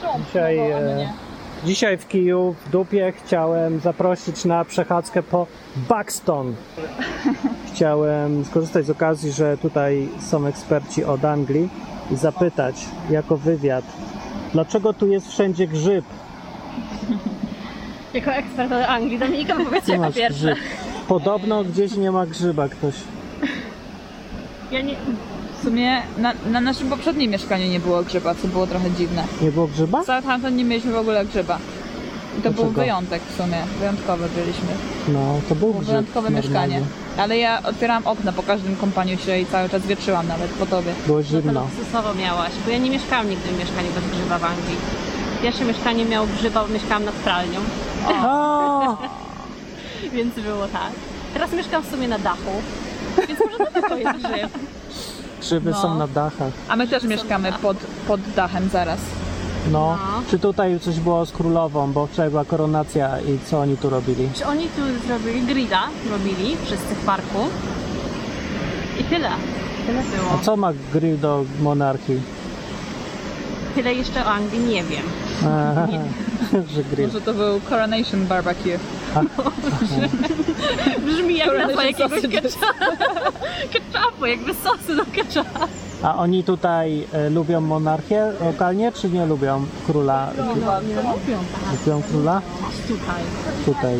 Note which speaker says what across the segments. Speaker 1: trąb,
Speaker 2: Dzisiaj,
Speaker 1: no, ale
Speaker 2: e,
Speaker 1: nie.
Speaker 2: Dzisiaj w kiju, w dupie, chciałem zaprosić na przechadzkę po Buxton. Chciałem skorzystać z okazji, że tutaj są eksperci od Anglii i zapytać jako wywiad, dlaczego tu jest wszędzie grzyb?
Speaker 3: Jako ekspert od Anglii, Dominika powiedz
Speaker 2: Tu
Speaker 3: jako
Speaker 2: masz
Speaker 3: pierwsza.
Speaker 2: grzyb. Podobno gdzieś nie ma grzyba ktoś.
Speaker 3: Ja nie,
Speaker 1: W sumie na, na naszym poprzednim mieszkaniu nie było grzyba, co było trochę dziwne.
Speaker 2: Nie było grzyba?
Speaker 1: W Southampton nie mieliśmy w ogóle grzyba. I to był
Speaker 2: Dlaczego?
Speaker 1: wyjątek w sumie. Wyjątkowy byliśmy.
Speaker 2: No, to był
Speaker 1: Było
Speaker 2: grzyb.
Speaker 1: wyjątkowe
Speaker 2: normalnie.
Speaker 1: mieszkanie. Ale ja otwierałam okno po każdym kąpaniu się i cały czas wietrzyłam nawet po tobie.
Speaker 2: Było
Speaker 3: no to
Speaker 2: zimno.
Speaker 3: luksusowo miałaś, bo ja nie mieszkałam nigdy w mieszkaniu bez grzyba w Anglii. Pierwsze mieszkanie miało grzyba, bo mieszkałam nad pralnią,
Speaker 1: No
Speaker 2: A,
Speaker 3: więc było tak. Teraz mieszkam w sumie na dachu, więc może tak dlatego jest grzyb.
Speaker 2: grzyby
Speaker 1: No.
Speaker 2: są na dachach.
Speaker 1: A my też mieszkamy pod, pod dachem zaraz.
Speaker 2: No.
Speaker 3: No.
Speaker 2: Czy tutaj coś było z królową, bo wczoraj była koronacja i co oni tu robili?
Speaker 3: Czy oni tu zrobili grilla, robili wszyscy w parku i tyle. Tyle
Speaker 2: A
Speaker 3: było.
Speaker 2: co ma grill do monarchii?
Speaker 3: Tyle jeszcze o Anglii nie wiem.
Speaker 2: Aha, Że grill.
Speaker 1: Może to był Coronation Barbecue.
Speaker 3: Brzmi jak
Speaker 1: Coronation
Speaker 3: nazwa jakiegoś
Speaker 1: sausage.
Speaker 3: ketchupu, ketchupu, jakby sosy do ketchupu.
Speaker 2: A oni tutaj e, lubią monarchię lokalnie, czy nie lubią króla?
Speaker 3: Lubią
Speaker 2: Lubią króla?
Speaker 3: tutaj.
Speaker 2: Tutaj.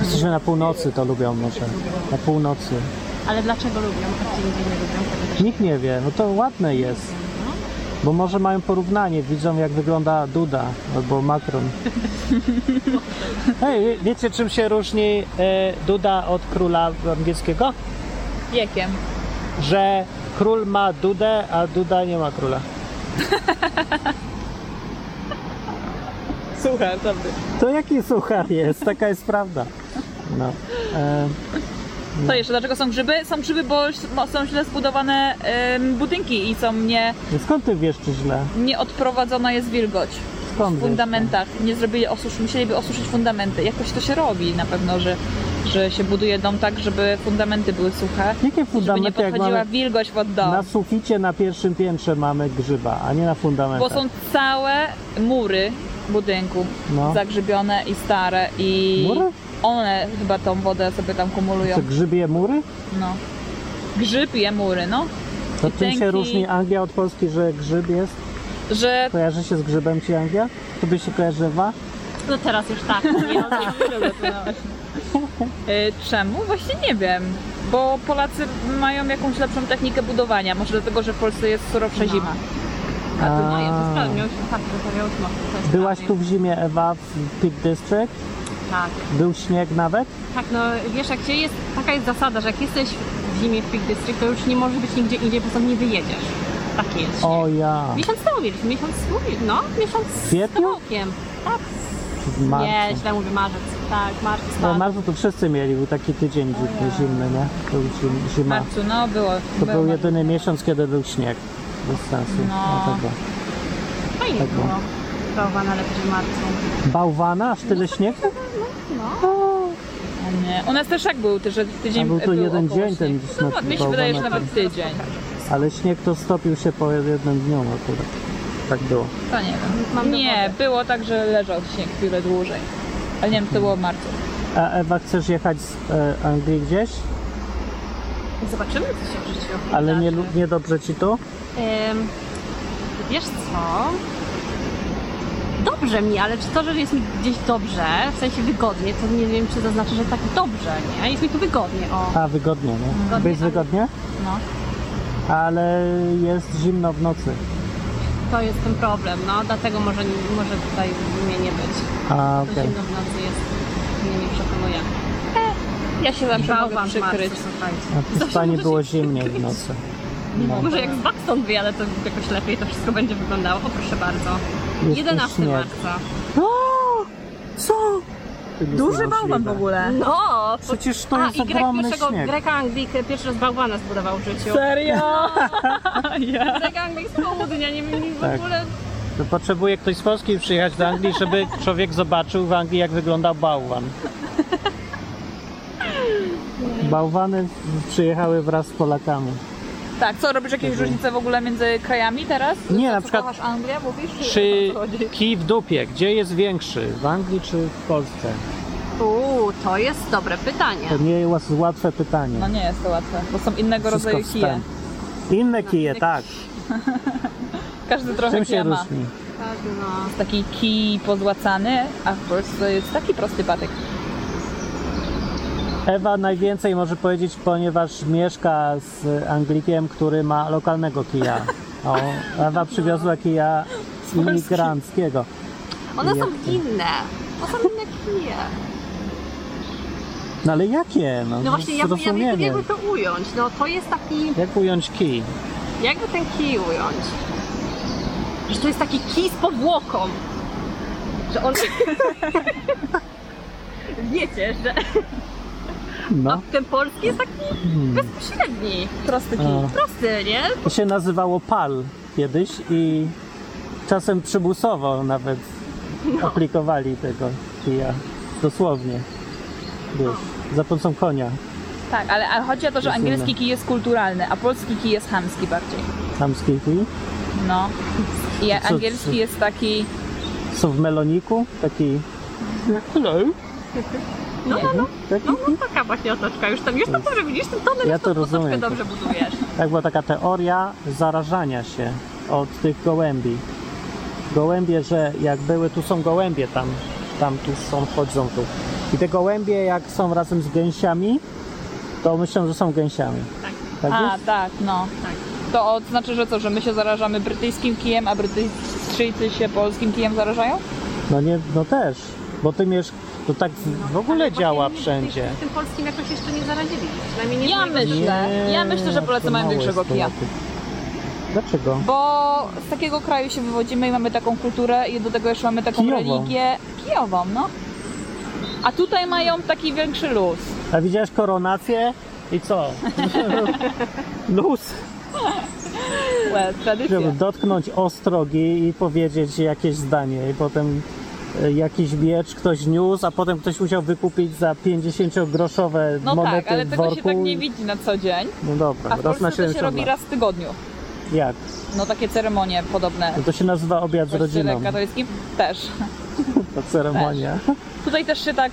Speaker 2: Jesteśmy na północy, to lubią może. Na północy.
Speaker 3: Ale dlaczego lubią, a gdzie indziej nie lubią? tego też-
Speaker 2: Nikt nie wie, no to ładne jest. Bo może mają porównanie, widzą jak wygląda Duda albo Macron. Hej, wie- wiecie czym się różni e, Duda od króla angielskiego?
Speaker 1: Wiekiem.
Speaker 2: Że król ma Dudę, a Duda nie ma króla.
Speaker 1: Słuchaj, prawda.
Speaker 2: To jaki suchar jest? Taka jest prawda. No. E,
Speaker 1: Co jeszcze, dlaczego są grzyby? Są grzyby, bo ś- bo są źle zbudowane em, budynki i są nie,
Speaker 2: No skąd ty wiesz, czy źle?
Speaker 1: nieodprowadzona jest wilgoć
Speaker 2: Skąd
Speaker 1: w
Speaker 2: wiesz?
Speaker 1: fundamentach. Nie zrobili osusz, musieliby osuszyć fundamenty. Jakoś to się robi na pewno, że, że się buduje dom tak, żeby fundamenty były suche.
Speaker 2: Jakie
Speaker 1: Żeby nie
Speaker 2: fundamenty, jak
Speaker 1: podchodziła
Speaker 2: mamy...
Speaker 1: wilgoć pod dom.
Speaker 2: Na suficie na pierwszym piętrze mamy grzyba, a nie na
Speaker 1: Bo
Speaker 2: fundamentach.
Speaker 1: są całe mury budynku
Speaker 2: No.
Speaker 1: zagrzybione i stare i
Speaker 2: Mury?
Speaker 1: one chyba tą wodę sobie tam kumulują.
Speaker 2: Czy grzybie mury?
Speaker 1: No. Grzyb je mury, no.
Speaker 2: To
Speaker 1: I
Speaker 2: czym się
Speaker 1: tęki-
Speaker 2: różni Anglia od Polski, że grzyb jest?
Speaker 1: Że
Speaker 2: Kojarzy się z grzybem ci Anglia? Tobie się kojarzywa?
Speaker 3: No teraz już tak. Nie, no,
Speaker 1: y, czemu? Właśnie nie wiem. Bo Polacy mają jakąś lepszą technikę budowania. Może dlatego, że w Polsce jest surowsza
Speaker 3: No.
Speaker 1: zima.
Speaker 3: A tu
Speaker 2: A.
Speaker 3: nie, to sprawdzę, miał się tak, to miał się
Speaker 2: Byłaś tu w zimie, Ewa, w Peak District?
Speaker 3: Tak.
Speaker 2: Był śnieg nawet?
Speaker 3: Tak, no wiesz, jak się jest, taka jest zasada, że jak jesteś w zimie w Peak District, to już nie możesz być nigdzie indziej, bo tam nie wyjedziesz. Taki jest.
Speaker 2: O ja,
Speaker 3: Miesiąc temu mieliśmy, miesiąc, mówię, no, miesiąc z
Speaker 2: Kwietniu?
Speaker 3: kawałkiem. Tak,
Speaker 2: w
Speaker 3: nie,
Speaker 2: marcu.
Speaker 3: źle mówię, marzec. Tak, marzec,
Speaker 2: No w
Speaker 3: tak.
Speaker 2: marcu to wszyscy mieli, był taki tydzień dziwny, zimny, nie? Był zim,
Speaker 1: W
Speaker 2: zima.
Speaker 1: marcu, no było.
Speaker 2: To
Speaker 1: było.
Speaker 2: był jedyny miesiąc, kiedy był śnieg. Bez sensu.
Speaker 1: No.
Speaker 2: No. tak.
Speaker 3: Fajnie
Speaker 2: tak
Speaker 3: było.
Speaker 2: było.
Speaker 3: Bałwana lepiej w marcu.
Speaker 2: Bałwana? Aż tyle śniegu?
Speaker 1: A nie. U nas też tak był, że tydzień
Speaker 2: A był to jeden
Speaker 1: około
Speaker 2: dzień ten
Speaker 1: śniegu.
Speaker 2: na-
Speaker 1: No, mi się wydaje, że
Speaker 2: bałwanek.
Speaker 1: nawet tydzień.
Speaker 2: Ale śnieg to stopił się po jednym dniu akurat. Tak było.
Speaker 1: To nie wiem.
Speaker 3: Mam
Speaker 1: nie, było tak, że leżał śnieg chwilę dłużej. Ale nie wiem, czy to było w marcu.
Speaker 2: A Ewa, chcesz jechać z e, Anglii gdzieś?
Speaker 3: Zobaczymy, co się w życiu
Speaker 2: Ale nie,
Speaker 3: wydarzy.
Speaker 2: lu- nie dobrze ci tu?
Speaker 3: Ym, wiesz co? Dobrze mi, ale czy to, że jest mi gdzieś dobrze, w sensie wygodnie, to nie wiem, czy to znaczy, że tak dobrze, nie? Jest mi tu wygodnie, o.
Speaker 2: A, wygodnie, nie?
Speaker 3: Wygodnie,
Speaker 2: Jest
Speaker 3: ale-
Speaker 2: wygodnie?
Speaker 3: No.
Speaker 2: Ale jest zimno w nocy.
Speaker 3: To jest ten problem, no. Dlatego może, może tutaj mnie nie być.
Speaker 2: A,
Speaker 3: To
Speaker 2: okej.
Speaker 3: zimno w nocy jest, mnie nie przekonuje.
Speaker 1: Ja się
Speaker 3: I
Speaker 1: zawsze mogę
Speaker 3: bałwan w marcu,
Speaker 1: przykryć.
Speaker 3: słuchajcie.
Speaker 2: A w Hiszpanii było zimniej w nocy. No.
Speaker 3: Może jak z Buxton wyjadę, to jakoś lepiej to wszystko będzie wyglądało. O, proszę bardzo.
Speaker 2: Jest
Speaker 3: 11
Speaker 2: śnieg.
Speaker 3: marca.
Speaker 2: Co?
Speaker 1: Duży bałwan w ogóle.
Speaker 3: No! To...
Speaker 2: Przecież to
Speaker 3: A,
Speaker 2: jest
Speaker 3: i Grek
Speaker 2: ogromny
Speaker 3: pierwszego,
Speaker 2: śnieg.
Speaker 3: Greka Anglik pierwszy raz bałwana zbudował w życiu.
Speaker 1: Serio? ja.
Speaker 3: Grek Anglik z południa, nie wiem, w
Speaker 2: Tak.
Speaker 3: ogóle...
Speaker 2: To potrzebuje ktoś z Polski przyjechać do Anglii, żeby człowiek zobaczył w Anglii, jak wygląda bałwan. Bałwany przyjechały wraz z Polakami.
Speaker 1: Tak, co, robisz jakieś różnice w ogóle między krajami teraz?
Speaker 2: Nie,
Speaker 1: Co,
Speaker 2: na
Speaker 1: co
Speaker 2: przykład-
Speaker 1: Kochasz Anglię, mówisz?
Speaker 2: Czy
Speaker 1: o co chodzi?
Speaker 2: kij w dupie, gdzie jest większy? W Anglii czy w Polsce?
Speaker 3: Uuu, to jest dobre pytanie.
Speaker 2: To nie jest łatwe pytanie.
Speaker 1: No nie jest to łatwe, bo są innego
Speaker 2: Wszystko
Speaker 1: rodzaju
Speaker 2: wstęp.
Speaker 1: kije.
Speaker 2: Inne kije, tak.
Speaker 1: Każdy trochę
Speaker 2: Czym się
Speaker 1: kija ma.
Speaker 2: różni?
Speaker 3: Tak, no.
Speaker 1: Jest taki kij pozłacany, a w Polsce jest taki prosty patyk.
Speaker 2: Ewa najwięcej może powiedzieć, ponieważ mieszka z Anglikiem, który ma lokalnego kija. O, Ewa przywiozła kija imigranckiego.
Speaker 3: One są
Speaker 2: Jak to?
Speaker 3: inne. To są inne kije.
Speaker 2: No ale jakie? No,
Speaker 3: No właśnie, ja, ja,
Speaker 2: zrozumienie.
Speaker 3: ja jakby to ująć. No to jest taki...
Speaker 2: Jak ująć kij?
Speaker 3: Jakby ten kij ująć? Że to jest taki kij z powłoką. Że on... Wiecie, że a
Speaker 2: No.
Speaker 3: ten polski jest taki
Speaker 2: Hmm.
Speaker 3: bezpośredni.
Speaker 1: Prosty kij.
Speaker 2: A.
Speaker 3: Prosty, nie?
Speaker 2: To się nazywało PAL kiedyś i czasem przymusowo nawet aplikowali tego kija. Dosłownie. Wiesz, za pomocą konia
Speaker 1: Tak, ale, ale chodzi o to, że
Speaker 2: Jest
Speaker 1: angielski
Speaker 2: inny.
Speaker 1: kij jest kulturalny, a polski kij jest chamski bardziej.
Speaker 2: tamskiej kij.
Speaker 1: No. I
Speaker 2: co-
Speaker 1: angielski jest taki...
Speaker 2: Są w meloniku taki... Hello.
Speaker 3: No, no, no.
Speaker 2: Taki
Speaker 3: No, no taka właśnie otoczka. Już tam, już tam dobrze widzisz, ten tonem
Speaker 2: Ja
Speaker 3: już
Speaker 2: to
Speaker 3: tą otoczkę
Speaker 2: rozumiem.
Speaker 3: dobrze budujesz.
Speaker 2: Tak była taka teoria zarażania się od tych gołębi. Gołębie, że jak były, tu są gołębie, tam, tam, tu są, chodzą tu. I te gołębie, jak są razem z gęsiami, to myślą, że są gęsiami.
Speaker 3: Tak.
Speaker 2: Tak
Speaker 1: A,
Speaker 2: jest?
Speaker 1: tak, no.
Speaker 3: Tak.
Speaker 1: To od- znaczy, że co, że my się zarażamy brytyjskim kijem, a Brytyjczycy się polskim kijem zarażają?
Speaker 2: No nie, no też, bo ty miesz... To tak w ogóle
Speaker 3: Ale
Speaker 2: działa
Speaker 3: właśnie nigdy
Speaker 2: wszędzie.
Speaker 3: Tym polskim jakoś jeszcze nie zaradzili. Przynajmniej nie z
Speaker 1: Ja
Speaker 3: mojego
Speaker 1: myślę.
Speaker 3: życia.
Speaker 1: Źle. Ja myślę, że
Speaker 2: to
Speaker 1: Polacy mają
Speaker 2: mało
Speaker 1: większego
Speaker 2: jest
Speaker 1: kija.
Speaker 2: Polaków. Dlaczego?
Speaker 1: Bo z takiego kraju się wywodzimy i mamy taką kulturę i do tego jeszcze mamy taką
Speaker 2: Kijową.
Speaker 1: religię kijową, no. A tutaj mają taki większy luz.
Speaker 2: A widziałeś koronację i co? Luz.
Speaker 1: Łe,
Speaker 2: żeby
Speaker 1: tradycja.
Speaker 2: dotknąć ostrogi i powiedzieć jakieś zdanie i potem e, jakiś miecz ktoś niósł, a potem ktoś musiał wykupić za 50-groszowe
Speaker 1: No
Speaker 2: monety
Speaker 1: tak, ale
Speaker 2: w
Speaker 1: tego
Speaker 2: worku.
Speaker 1: się tak nie
Speaker 2: i-
Speaker 1: widzi na co dzień.
Speaker 2: No dobra,
Speaker 1: A w
Speaker 2: raz na
Speaker 1: Polsce to
Speaker 2: 7
Speaker 1: się robi raz w tygodniu.
Speaker 2: Jak?
Speaker 1: No takie ceremonie podobne.
Speaker 2: No to się nazywa obiad
Speaker 1: W
Speaker 2: z rodziną,
Speaker 1: kościele katolickim też.
Speaker 2: ta ceremonia.
Speaker 1: Tutaj też się tak,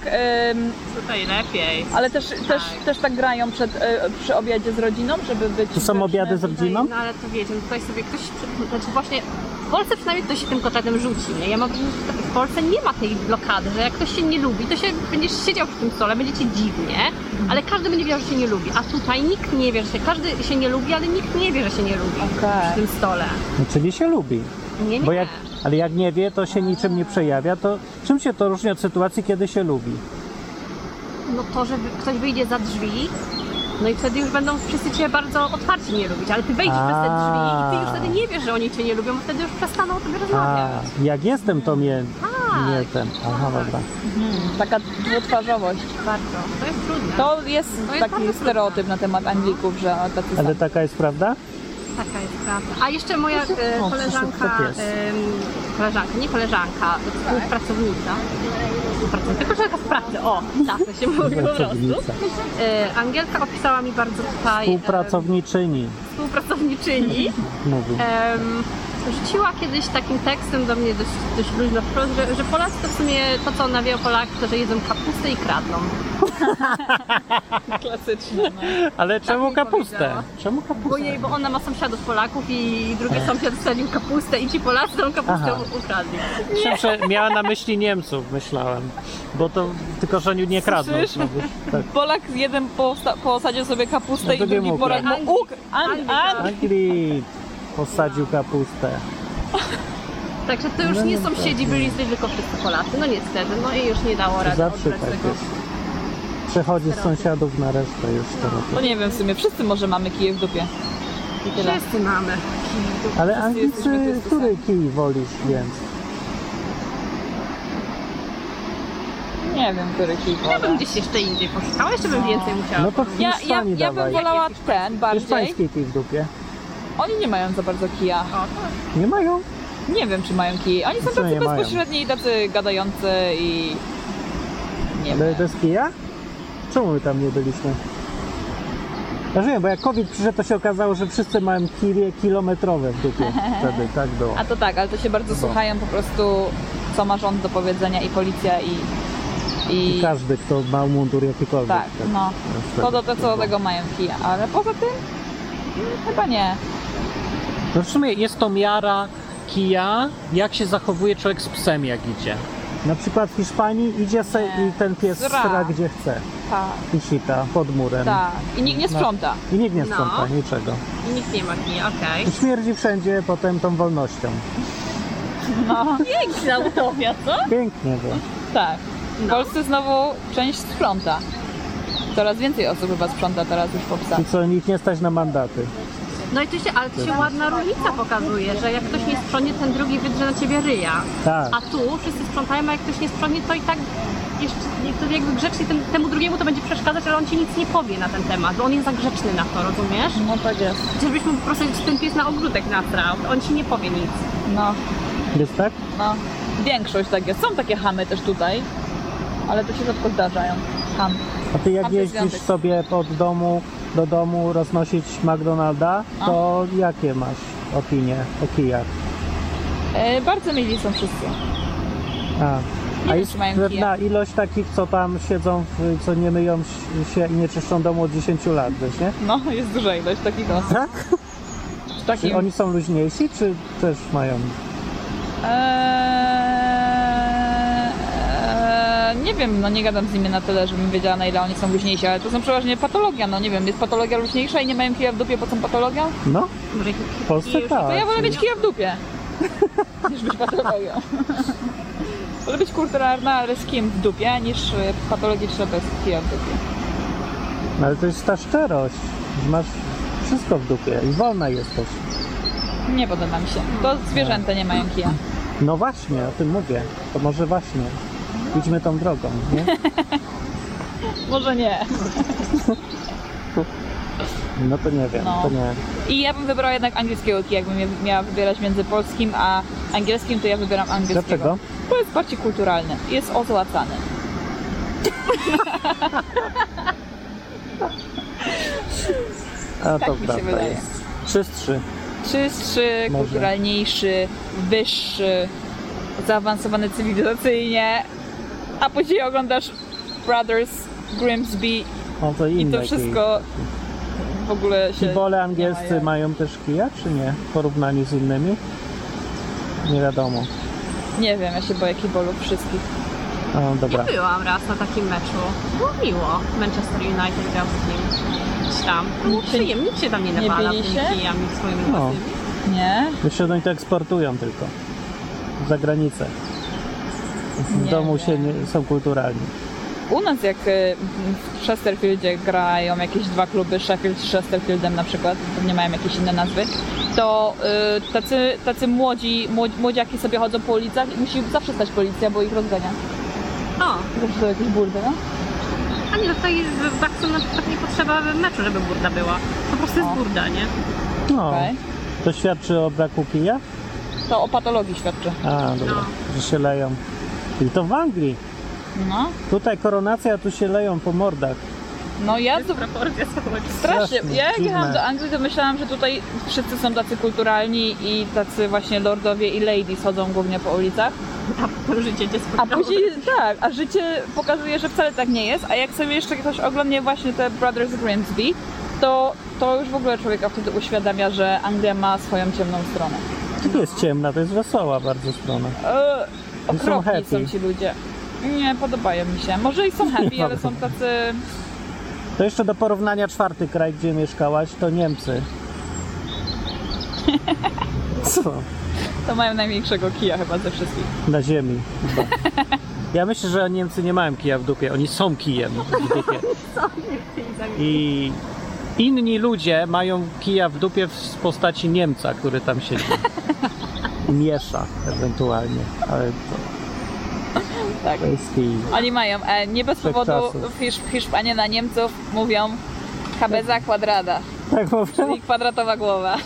Speaker 1: ym,
Speaker 3: Tutaj lepiej.
Speaker 1: ale też, też, też tak grają przed, y, przy obiadzie z rodziną, żeby być...
Speaker 2: To są obiady z
Speaker 1: grzecznym.
Speaker 2: rodziną?
Speaker 3: No ale to wiecie, no tutaj sobie ktoś, przy- znaczy właśnie w Polsce przynajmniej ktoś się tym kotletem rzuci, nie? Ja mam wrażenie, że w Polsce nie ma tej blokady, że jak ktoś się nie lubi, to się będziesz siedział przy tym stole, będzie ci dziwnie,
Speaker 2: Mhm.
Speaker 3: ale każdy będzie wiedział, że się nie lubi, a tutaj nikt nie wie, że się, każdy się nie lubi, ale nikt nie wie, że się nie lubi
Speaker 1: Okej.
Speaker 3: przy tym stole.
Speaker 2: No, czyli się lubi.
Speaker 3: Nie, nie.
Speaker 2: Bo jak, ale jak nie wie, to się niczym nie przejawia. To czym się to różni od sytuacji, kiedy się lubi?
Speaker 3: No to, że wy- ktoś wyjdzie za drzwi, no i wtedy już będą wszyscy cię bardzo otwarcie nie lubić, ale ty wejdziesz przez te drzwi i ty już wtedy nie wiesz, że oni cię nie lubią, bo wtedy już przestaną o tobie
Speaker 1: No
Speaker 2: A,
Speaker 3: rozmawiać.
Speaker 2: jak jestem, to mnie nie
Speaker 3: Tak,
Speaker 2: ten. Aha, dobra.
Speaker 1: Taka dwutwarzowość.
Speaker 2: Tak.
Speaker 3: bardzo. To jest trudne.
Speaker 1: To jest
Speaker 3: To jest
Speaker 1: taki
Speaker 3: bardzo
Speaker 1: stereotyp na temat Anglików, że tacy
Speaker 2: Ale
Speaker 1: są.
Speaker 2: taka jest prawda?
Speaker 3: Taka jest prawda. A jeszcze moja e,
Speaker 2: O,
Speaker 3: koleżanka,
Speaker 2: to jest.
Speaker 3: em, koleżanka, nie koleżanka, współpracownica, współpracownica, koleżanka z pracy, o, tak to się mówi po prostu.
Speaker 2: Pracownica.
Speaker 3: E, Angielka opisała mi bardzo tutaj e,
Speaker 2: Współpracowniczyni
Speaker 3: współpracowniczyni,
Speaker 2: mówi.
Speaker 3: em, rzuciła kiedyś takim tekstem do mnie dość, dość luźno wprost, że, że Polacy to w sumie to, co on wie o Polakach, to, że jedzą kapustę i kradną.
Speaker 1: Klasyczne. No.
Speaker 2: Ale czemu
Speaker 3: mi
Speaker 2: kapustę?
Speaker 3: powiedziała.
Speaker 2: Czemu
Speaker 3: Bo
Speaker 2: kapustę?
Speaker 3: jej, bo ona ma sąsiadów Polaków i drugi sąsiad wsadził kapustę i ci Polacy tą kapustę
Speaker 2: Tak. Aha.
Speaker 3: ukradli.
Speaker 2: Myślałem, że miała na myśli Niemców, myślałem. Bo to tylko, że nie kradną.
Speaker 1: Słyszysz?
Speaker 2: No, wiesz, tak.
Speaker 1: Polak jeden posta- posadził sobie kapustę
Speaker 2: A
Speaker 1: i
Speaker 2: drugi
Speaker 1: drugi
Speaker 2: mu
Speaker 1: porad...
Speaker 2: ukradł.
Speaker 1: No, uk- an-
Speaker 3: Anglik,
Speaker 1: an-
Speaker 2: Anglik posadził kapustę.
Speaker 3: Także to już
Speaker 2: No,
Speaker 3: nie
Speaker 2: no,
Speaker 3: sąsiedzi
Speaker 2: tak,
Speaker 3: byli jesteś tylko wszyscy Polacy. No niestety, no i już nie dało rady
Speaker 2: Zawsze
Speaker 3: odbrać
Speaker 2: tak
Speaker 3: tego.
Speaker 2: jest. Przechodzi z sąsiadów na resztę już
Speaker 1: No
Speaker 2: teraz.
Speaker 1: nie wiem, w sumie wszyscy może mamy kije w dupie. I tyle.
Speaker 3: Wszyscy mamy.
Speaker 2: Ale
Speaker 1: Wszyscy jesteśmy
Speaker 2: Anglicy,
Speaker 1: Chrystusem.
Speaker 2: który kij wolisz więc?
Speaker 1: Nie wiem, który kij
Speaker 3: Ja bym
Speaker 1: wolę.
Speaker 3: gdzieś jeszcze indziej poszukała, jeszcze bym więcej musiała.
Speaker 2: No to
Speaker 1: Ja, ja,
Speaker 2: Hiszpanii
Speaker 1: ja bym
Speaker 2: dawaj.
Speaker 1: wolała ten bardziej.
Speaker 2: Hiszpański kij w dupie.
Speaker 1: Oni nie mają za bardzo kija.
Speaker 3: O, to
Speaker 2: Nie mają?
Speaker 1: Nie wiem, czy mają kij. Oni są
Speaker 2: Co
Speaker 1: tacy
Speaker 2: nie mają?
Speaker 1: bezpośredni i tacy gadający i... Nie
Speaker 2: Ale
Speaker 1: wiem.
Speaker 2: bez kija? Czemu my tam nie byliśmy? Rozumiem, bo jak COVID przyszedł, to się okazało, że wszyscy mają kirie kilometrowe w dupie. Wtedy tak było.
Speaker 1: A to tak, ale to się bardzo słuchają po prostu, co ma rząd do powiedzenia i policja i...
Speaker 2: I każdy, kto ma mundur jakikolwiek.
Speaker 1: Tak, no.
Speaker 2: Więc
Speaker 1: To do,
Speaker 2: tak
Speaker 1: to, co do
Speaker 2: było.
Speaker 1: tego mają kija, ale poza tym mm, chyba nie.
Speaker 2: No w sumie jest to miara kija, jak się zachowuje człowiek z psem, jak idzie. Na przykład w Hiszpanii idzie se i ten pies
Speaker 1: Sra.
Speaker 2: sra gdzie chce.
Speaker 1: Tak,
Speaker 2: I sita pod murem.
Speaker 1: tak. I nikt nie
Speaker 2: No.
Speaker 1: sprząta.
Speaker 2: I nikt nie
Speaker 3: No.
Speaker 2: sprząta niczego.
Speaker 3: I nikt nie ma kija, okej.
Speaker 2: I śmierdzi wszędzie potem tą wolnością.
Speaker 3: Piękna utopia, co?
Speaker 1: No.
Speaker 2: Pięknie było.
Speaker 1: Tak. W Polsce znowu część sprząta. Coraz więcej osób chyba sprząta teraz już po psach.
Speaker 2: I co, nikt nie stać na mandaty.
Speaker 3: No i tu się, ale tu się ładna różnica pokazuje, że jak ktoś nie sprzątnie, ten drugi wydrze na ciebie ryja.
Speaker 2: Tak.
Speaker 3: A tu wszyscy sprzątają, a jak ktoś nie sprzątnie, to i tak jeszcze nie- to jakby grzecznie tym, temu drugiemu to będzie przeszkadzać, ale on ci nic nie powie na ten temat, bo on jest za grzeczny na to, rozumiesz?
Speaker 1: No tak jest.
Speaker 3: Żebyś mu po prostu ten pies na ogródek natrał, on ci nie powie nic.
Speaker 1: No,
Speaker 2: Jest tak?
Speaker 1: no. Większość tak jest. Są takie hamy też tutaj, ale to się rzadko zdarzają. Ham.
Speaker 2: A ty jak
Speaker 1: A ty
Speaker 2: jeździsz
Speaker 1: związek.
Speaker 2: sobie od domu do domu roznosić McDonalda, to jakie masz opinie o kijach?
Speaker 1: E, bardzo mili są wszyscy.
Speaker 2: A, a
Speaker 1: Ile
Speaker 2: jest
Speaker 1: trzymają
Speaker 2: pewna ilość takich, co tam siedzą, w, co nie myją ś- się i nie czyszczą domu od 10 lat, wiesz, nie?
Speaker 1: No, jest duża ilość takich osób.
Speaker 2: Tak?
Speaker 1: W
Speaker 2: Czy
Speaker 1: Takim...
Speaker 2: oni są luźniejsi, czy też mają?
Speaker 1: Eee, eee, nie wiem, no nie gadam z nimi na tyle, żebym wiedziała na ile oni są luźniejsi, ale to są przeważnie patologia, no nie wiem, jest patologia luźniejsza i nie mają kija w dupie, po co patologia?
Speaker 2: No,
Speaker 3: Może ich
Speaker 2: w Polsce
Speaker 3: już-
Speaker 2: tak.
Speaker 1: To ja wolę mieć kija w dupie, niż być patologią. wolę być kulturalna, ale z kijem w dupie, niż y, patologiczna bez kija w dupie.
Speaker 2: No, Ale to jest ta szczerość, że masz wszystko w dupie i wolna jesteś.
Speaker 1: Nie podoba mi się. To zwierzęta nie mają kija.
Speaker 2: No właśnie, o tym mówię. To może właśnie. Idźmy tą drogą, nie?
Speaker 1: Może nie.
Speaker 2: No to nie wiem,
Speaker 1: No.
Speaker 2: to nie.
Speaker 1: I ja bym wybrała jednak angielskiego kija, jakbym je miała wybierać między polskim a angielskim, to ja wybieram angielskiego.
Speaker 2: Dlaczego?
Speaker 1: Bo jest bardziej kulturalny, jest ozłacany.
Speaker 2: A
Speaker 1: Tak
Speaker 2: to
Speaker 1: mi się
Speaker 2: prawda
Speaker 1: wydaje.
Speaker 2: jest. Czystszy.
Speaker 1: Czystszy,
Speaker 2: Może.
Speaker 1: kulturalniejszy, wyższy, zaawansowany cywilizacyjnie. A później oglądasz Brothers Grimsby
Speaker 2: No to
Speaker 1: i
Speaker 2: inne
Speaker 1: to wszystko w ogóle się...
Speaker 2: kije. Kibole
Speaker 1: nie
Speaker 2: angielscy
Speaker 1: ma jak.
Speaker 2: mają też kija, czy nie? W porównaniu z innymi? Nie wiadomo.
Speaker 1: Nie wiem, ja się boję kibolów wszystkich.
Speaker 2: A,
Speaker 3: Ja
Speaker 2: dobra.
Speaker 3: byłam raz na takim meczu. Było miło. Manchester United grał z nim. Gdzieś Tam. Było
Speaker 1: Czy-
Speaker 3: przyjemnie, nikt się tam nie nawala
Speaker 1: bili
Speaker 3: tymi
Speaker 1: się?
Speaker 3: kijami swoimi
Speaker 2: No.
Speaker 3: własnymi.
Speaker 1: Nie?
Speaker 2: Jeszcze oni to eksportują tylko. Za granicę. W
Speaker 1: Nie
Speaker 2: domu
Speaker 1: wiem.
Speaker 2: się nie, są kulturalni.
Speaker 1: U nas jak y, w Chesterfieldzie grają jakieś dwa kluby, Sheffield z Chesterfieldem na przykład, pewnie mają jakieś inne nazwy, to y, tacy, tacy młodzi, młodzi, młodziaki sobie chodzą po ulicach i musi zawsze stać policja, bo ich rozgania.
Speaker 3: O,
Speaker 1: Zawsze to jakieś burdy, no?
Speaker 3: a nie, no tutaj w Baxu na przykład nie potrzeba meczu, żeby burda była. Po prostu jest
Speaker 1: O.
Speaker 3: burda, nie?
Speaker 2: No.
Speaker 1: Okej.
Speaker 2: To świadczy o braku kija?
Speaker 1: To o patologii świadczy.
Speaker 2: A, dobra.
Speaker 3: No.
Speaker 2: Że się leją. I to w Anglii.
Speaker 1: No,
Speaker 2: Tutaj koronacja, a tu się leją po mordach.
Speaker 1: no ja
Speaker 3: Jest proporcja społeczna.
Speaker 1: strasznie,
Speaker 2: straszne,
Speaker 1: ja jak jechałam
Speaker 2: dziwne.
Speaker 1: do Anglii, to myślałam, że tutaj wszyscy są tacy kulturalni i tacy właśnie lordowie i ladies chodzą głównie po ulicach.
Speaker 3: A potem życie cię spotkało.
Speaker 1: A później tak, a życie pokazuje, że wcale tak nie jest, a jak sobie jeszcze ktoś oglądnie właśnie te Brothers Grimsby, to, to już w ogóle człowieka wtedy uświadamia, że Anglia ma swoją ciemną stronę.
Speaker 2: Tu jest ciemna, to jest wesoła bardzo strona.
Speaker 1: Eee,
Speaker 2: są
Speaker 1: okropni są,
Speaker 2: happy.
Speaker 1: ci ludzie. Nie podobają mi się. Może i są happy,
Speaker 2: Nie
Speaker 1: ale są tacy...
Speaker 2: To jeszcze do porównania czwarty kraj, gdzie mieszkałaś, to Niemcy. Co?
Speaker 1: To mają najmniejszego kija chyba ze wszystkich.
Speaker 2: Na ziemi. chyba. Ja myślę, że Niemcy nie mają kija w dupie, oni są kijem w dupie. I inni ludzie mają kija w dupie w postaci Niemca, który tam siedzi. I miesza ewentualnie, ale to,
Speaker 1: Tak.
Speaker 2: to jest kij.
Speaker 1: Oni mają, e, nie bez
Speaker 2: Trzech
Speaker 1: powodu
Speaker 2: czasów.
Speaker 1: w Hisz- Hiszpanie na Niemców mówią cabeza quadrada,
Speaker 2: Tak mówię?
Speaker 1: czyli kwadratowa głowa.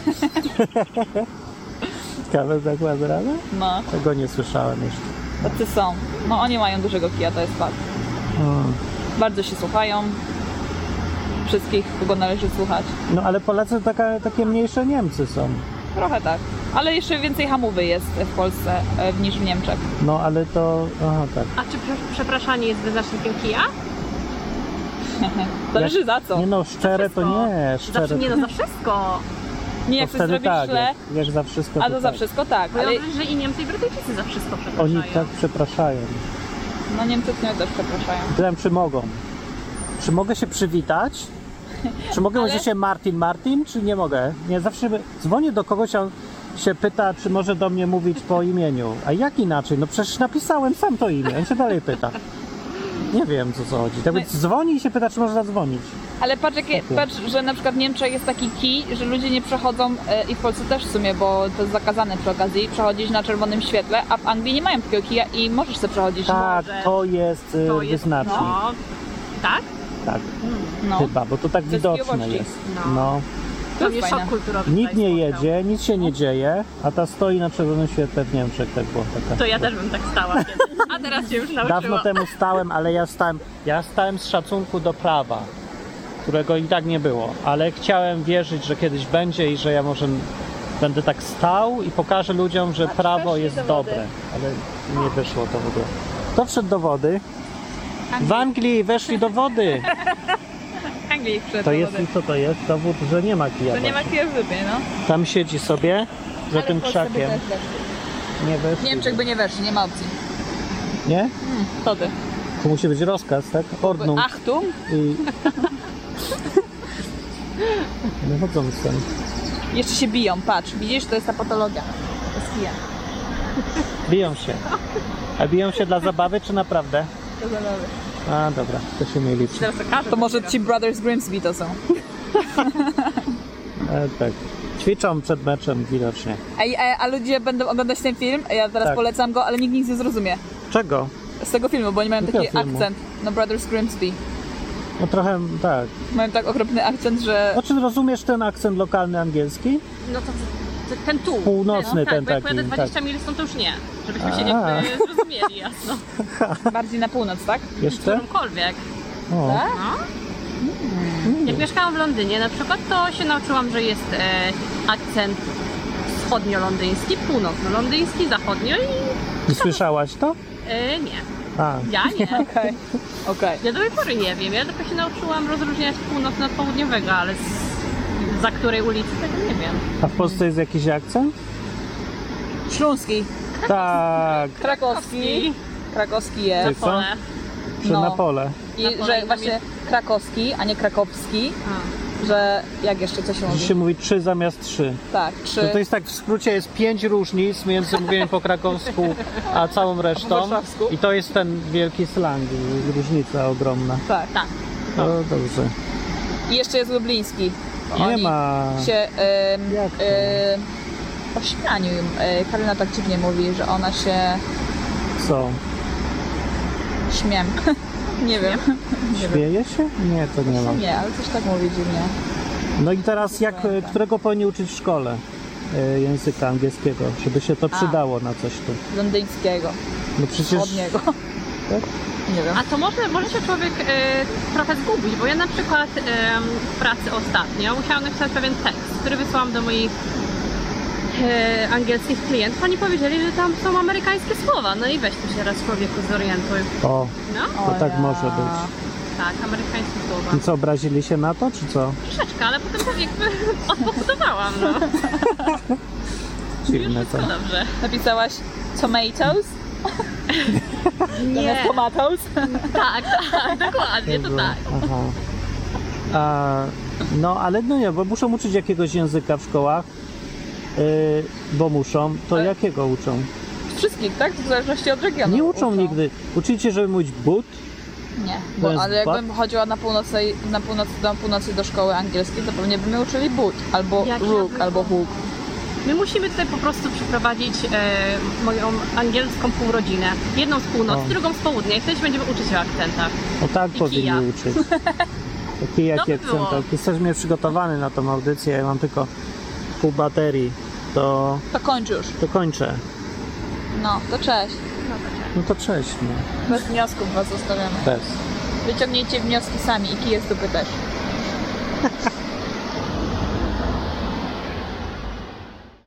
Speaker 2: Kawę zakłada rana?
Speaker 1: No,
Speaker 2: Tego nie słyszałem jeszcze.
Speaker 1: tacy są. No oni mają dużego kija, to jest fakt.
Speaker 2: Mm.
Speaker 1: bardzo się słuchają. wszystkich, kogo należy słuchać.
Speaker 2: No ale Polacy to taka, takie mniejsze Niemcy są.
Speaker 1: Trochę tak. Ale jeszcze więcej hamowy jest w Polsce e, niż w Niemczech.
Speaker 2: No ale to. Aha, tak.
Speaker 3: A czy prze- przepraszanie jest wyznacznikiem kija?
Speaker 1: Zależy
Speaker 2: Jak-
Speaker 1: za co.
Speaker 2: Nie no, szczere to
Speaker 3: Wszystko.
Speaker 2: nie, szczere.
Speaker 3: Zawsze, nie no, za wszystko.
Speaker 1: Nie,
Speaker 2: to
Speaker 1: jak coś
Speaker 2: wtedy
Speaker 1: zrobisz
Speaker 2: tak,
Speaker 1: źle,
Speaker 2: jak, jak za wszystko.
Speaker 1: a to za
Speaker 2: tak.
Speaker 1: wszystko tak.
Speaker 3: Bo
Speaker 1: Ale
Speaker 3: ja wiem, że i Niemcy i Brytyjczycy za wszystko przepraszają.
Speaker 2: Oni tak przepraszają.
Speaker 1: no Niemcy mnie też przepraszają.
Speaker 2: Pytałem, czy mogą. Czy mogę się przywitać? Czy mogę
Speaker 1: Ale-
Speaker 2: mówić się Martin Martin, czy nie mogę? Nie, zawsze by- dzwonię do kogoś, a on się pyta, czy może do mnie mówić po imieniu. A jak inaczej? No przecież napisałem sam to imię, on się dalej pyta. Nie wiem, co co chodzi.
Speaker 1: No
Speaker 2: Tak więc dzwoni i się pyta, czy może zadzwonić.
Speaker 1: Ale patrz, jakie,
Speaker 2: Spoko.
Speaker 1: patrz, że na przykład w Niemczech jest taki kij, że ludzie nie przechodzą, e, i w Polsce też w sumie, bo to jest zakazane przy okazji, przechodzić na czerwonym świetle, a w Anglii nie mają takiego kija i możesz sobie przechodzić.
Speaker 2: Tak,
Speaker 3: Może.
Speaker 2: to jest y,
Speaker 3: To jest,
Speaker 2: wyznacznik.
Speaker 3: no, tak?
Speaker 2: Tak,
Speaker 1: No.
Speaker 2: chyba, bo to tak
Speaker 1: jest
Speaker 2: widoczne
Speaker 1: miłości.
Speaker 2: jest.
Speaker 3: No.
Speaker 2: No.
Speaker 3: To
Speaker 1: jest
Speaker 3: jest
Speaker 1: fajne.
Speaker 3: szok kulturowy.
Speaker 2: Nikt
Speaker 3: tutaj
Speaker 2: nie
Speaker 3: spotkał.
Speaker 2: jedzie, nic się nie dzieje, a ta stoi na czerwonym świetle w Niemczech. Tak było, taka
Speaker 3: To ja też bym tak stała kiedyś. A teraz się już nauczyłam.
Speaker 2: Dawno temu stałem, ale ja stałem, ja stałem z szacunku do prawa, którego i tak nie było, ale chciałem wierzyć, że kiedyś będzie i że ja może będę tak stał i pokażę ludziom, że prawo jest dobre, ale nie wyszło to w ogóle. Kto wszedł do wody? W Anglii weszli do wody.
Speaker 1: W Anglii
Speaker 2: To
Speaker 1: przechodzą.
Speaker 2: jest i co to jest? Dowód, że nie ma kija.
Speaker 1: To nie ma
Speaker 2: właśnie.
Speaker 1: kija w dupie, no.
Speaker 2: Tam siedzi sobie za tym krzakiem. Nie
Speaker 1: W
Speaker 2: weszli.
Speaker 1: Niemczech by nie weszli, nie ma opcji.
Speaker 2: Nie?
Speaker 1: To ty.
Speaker 2: To musi być rozkaz, tak? Ordnung.
Speaker 1: Ach tu?
Speaker 2: I... Wychodzą No z tym.
Speaker 1: Jeszcze się biją, patrz. Widzisz, to jest ta patologia. To jest kija.
Speaker 2: Biją się. A biją się dla zabawy czy naprawdę?
Speaker 1: To zabawy.
Speaker 2: A dobra, to się nie liczy.
Speaker 3: Teraz okaże,
Speaker 1: To może ci Brothers Grimsby to są.
Speaker 2: E, tak. Ćwiczą przed meczem widocznie.
Speaker 1: Ej, e, a ludzie będą oglądać ten film, ja teraz
Speaker 2: Tak.
Speaker 1: polecam go, ale nikt nic nie zrozumie.
Speaker 2: Czego?
Speaker 1: Z tego filmu, bo oni mają
Speaker 2: Jakiego
Speaker 1: taki
Speaker 2: filmu?
Speaker 1: akcent. No Brothers Grimsby.
Speaker 2: No trochę tak.
Speaker 1: Mają tak okropny akcent, że...
Speaker 2: Znaczy rozumiesz ten akcent lokalny angielski?
Speaker 3: No to to ten tu.
Speaker 2: Północny
Speaker 3: no, tak,
Speaker 2: ten
Speaker 3: bo jak
Speaker 2: taki,
Speaker 3: pojadę 20 mil stąd, to już nie. Żebyśmy się nie zrozumieli jasno.
Speaker 1: Bardziej na północ, tak?
Speaker 2: Jeszcze?
Speaker 3: Którąkolwiek.
Speaker 2: O,
Speaker 1: Tak?
Speaker 3: No. Jak mieszkałam w Londynie na przykład, to się nauczyłam, że jest e, akcent wschodnio-londyński, północno-londyński, zachodnio i
Speaker 2: I słyszałaś to?
Speaker 3: e, nie.
Speaker 2: A,
Speaker 3: Ja nie.
Speaker 1: Okej. Okej.
Speaker 3: Ja do tej pory nie wiem. Ja tylko się nauczyłam rozróżniać północno od południowego, ale z, za której ulicy tego nie wiem.
Speaker 2: a w Polsce jest jakiś akcent?
Speaker 1: Śląski.
Speaker 2: Tak,
Speaker 1: Krakowski. Krakowski
Speaker 2: To
Speaker 1: jest.
Speaker 2: jest- co?
Speaker 3: Pole.
Speaker 2: że
Speaker 1: No.
Speaker 2: na pole.
Speaker 1: I że właśnie krakowski, a nie krakowski,
Speaker 3: Hmm.
Speaker 1: że jak jeszcze coś się mówi?
Speaker 2: Dziś się mówi 3 zamiast 3.
Speaker 1: Tak,
Speaker 2: To,
Speaker 1: czy...
Speaker 2: to jest tak, w skrócie jest pięć różnic między mówieniem po krakowsku, a całą resztą.
Speaker 1: warszawsku.
Speaker 2: I to jest ten wielki slang, y, różnica ogromna.
Speaker 1: Tak.
Speaker 3: Tak.
Speaker 2: No dobrze.
Speaker 1: I jeszcze jest lubliński.
Speaker 2: Nie
Speaker 1: Oni
Speaker 2: ma.
Speaker 1: się... Ym,
Speaker 2: Jak to?
Speaker 1: ym, o śniadaniu y, Karolina tak dziwnie mówi, że ona się
Speaker 2: Co?
Speaker 1: śmiem. Nie wiem. Nie wiem.
Speaker 2: Śmieje się? Nie, to nie ma.
Speaker 1: Nie, ale coś tak mówi dziwnie.
Speaker 2: No i teraz jak, y, którego powinni uczyć w szkole y, języka angielskiego, żeby się to przydało na coś tu?
Speaker 1: Londyńskiego.
Speaker 2: No przecież...
Speaker 1: Od niego.
Speaker 2: Tak?
Speaker 1: Nie wiem.
Speaker 3: A to może, może się człowiek e, trochę zgubić, bo ja na przykład em, w pracy ostatnio musiałam napisać pewien tekst, który wysłałam do moich e, angielskich klientów. Oni powiedzieli, że tam są amerykańskie słowa. No i weź tu się raz człowieku zorientuj.
Speaker 2: O,
Speaker 3: No,
Speaker 2: to
Speaker 1: O
Speaker 2: tak
Speaker 1: ja.
Speaker 2: może być.
Speaker 3: tak, amerykańskie słowa.
Speaker 2: I co, obrazili się na to, czy co?
Speaker 3: Troszeczkę, ale potem to jakby odpowodowałam, no. Już
Speaker 2: Dziwne to.
Speaker 3: wszystko dobrze.
Speaker 1: Napisałaś tomatoes? Zamiast tomatoes?
Speaker 3: Tak, tak, dokładnie, to
Speaker 2: Jezu,
Speaker 3: tak.
Speaker 2: Aha. A, no ale no nie, bo muszą uczyć jakiegoś języka w szkołach, yy, bo muszą. To
Speaker 1: Ale-
Speaker 2: jakiego uczą?
Speaker 1: Wszystkich, tak? W zależności od regionu.
Speaker 2: Nie uczą nigdy. Uczyli cię, żeby mówić but,
Speaker 1: Nie,
Speaker 2: To
Speaker 1: bo,
Speaker 2: jest
Speaker 1: ale
Speaker 2: ba-
Speaker 1: jakbym chodziła na północy, na północy, do północy do szkoły angielskiej, to pewnie by mnie uczyli but, albo
Speaker 3: Jak ja
Speaker 1: rook,
Speaker 3: bym-
Speaker 1: albo hook.
Speaker 3: My musimy tutaj po prostu przeprowadzić e, moją angielską półrodzinę. Jedną z północy,
Speaker 2: O.
Speaker 3: drugą z południa i wtedy się będziemy uczyć o akcentach.
Speaker 2: o tak
Speaker 3: I
Speaker 2: powinni
Speaker 3: kija.
Speaker 2: uczyć. Taki
Speaker 3: No
Speaker 2: jaki
Speaker 3: by
Speaker 2: akcent.
Speaker 3: było.
Speaker 2: Jesteś mnie przygotowany na tą audycję, ja mam tylko pół baterii. To,
Speaker 1: To kończ już.
Speaker 2: to kończę.
Speaker 1: No, to cześć.
Speaker 2: No to cześć. No.
Speaker 1: Bez wniosków was zostawiamy.
Speaker 2: Bez.
Speaker 1: Wyciągnijcie wnioski sami i kij z dupy też.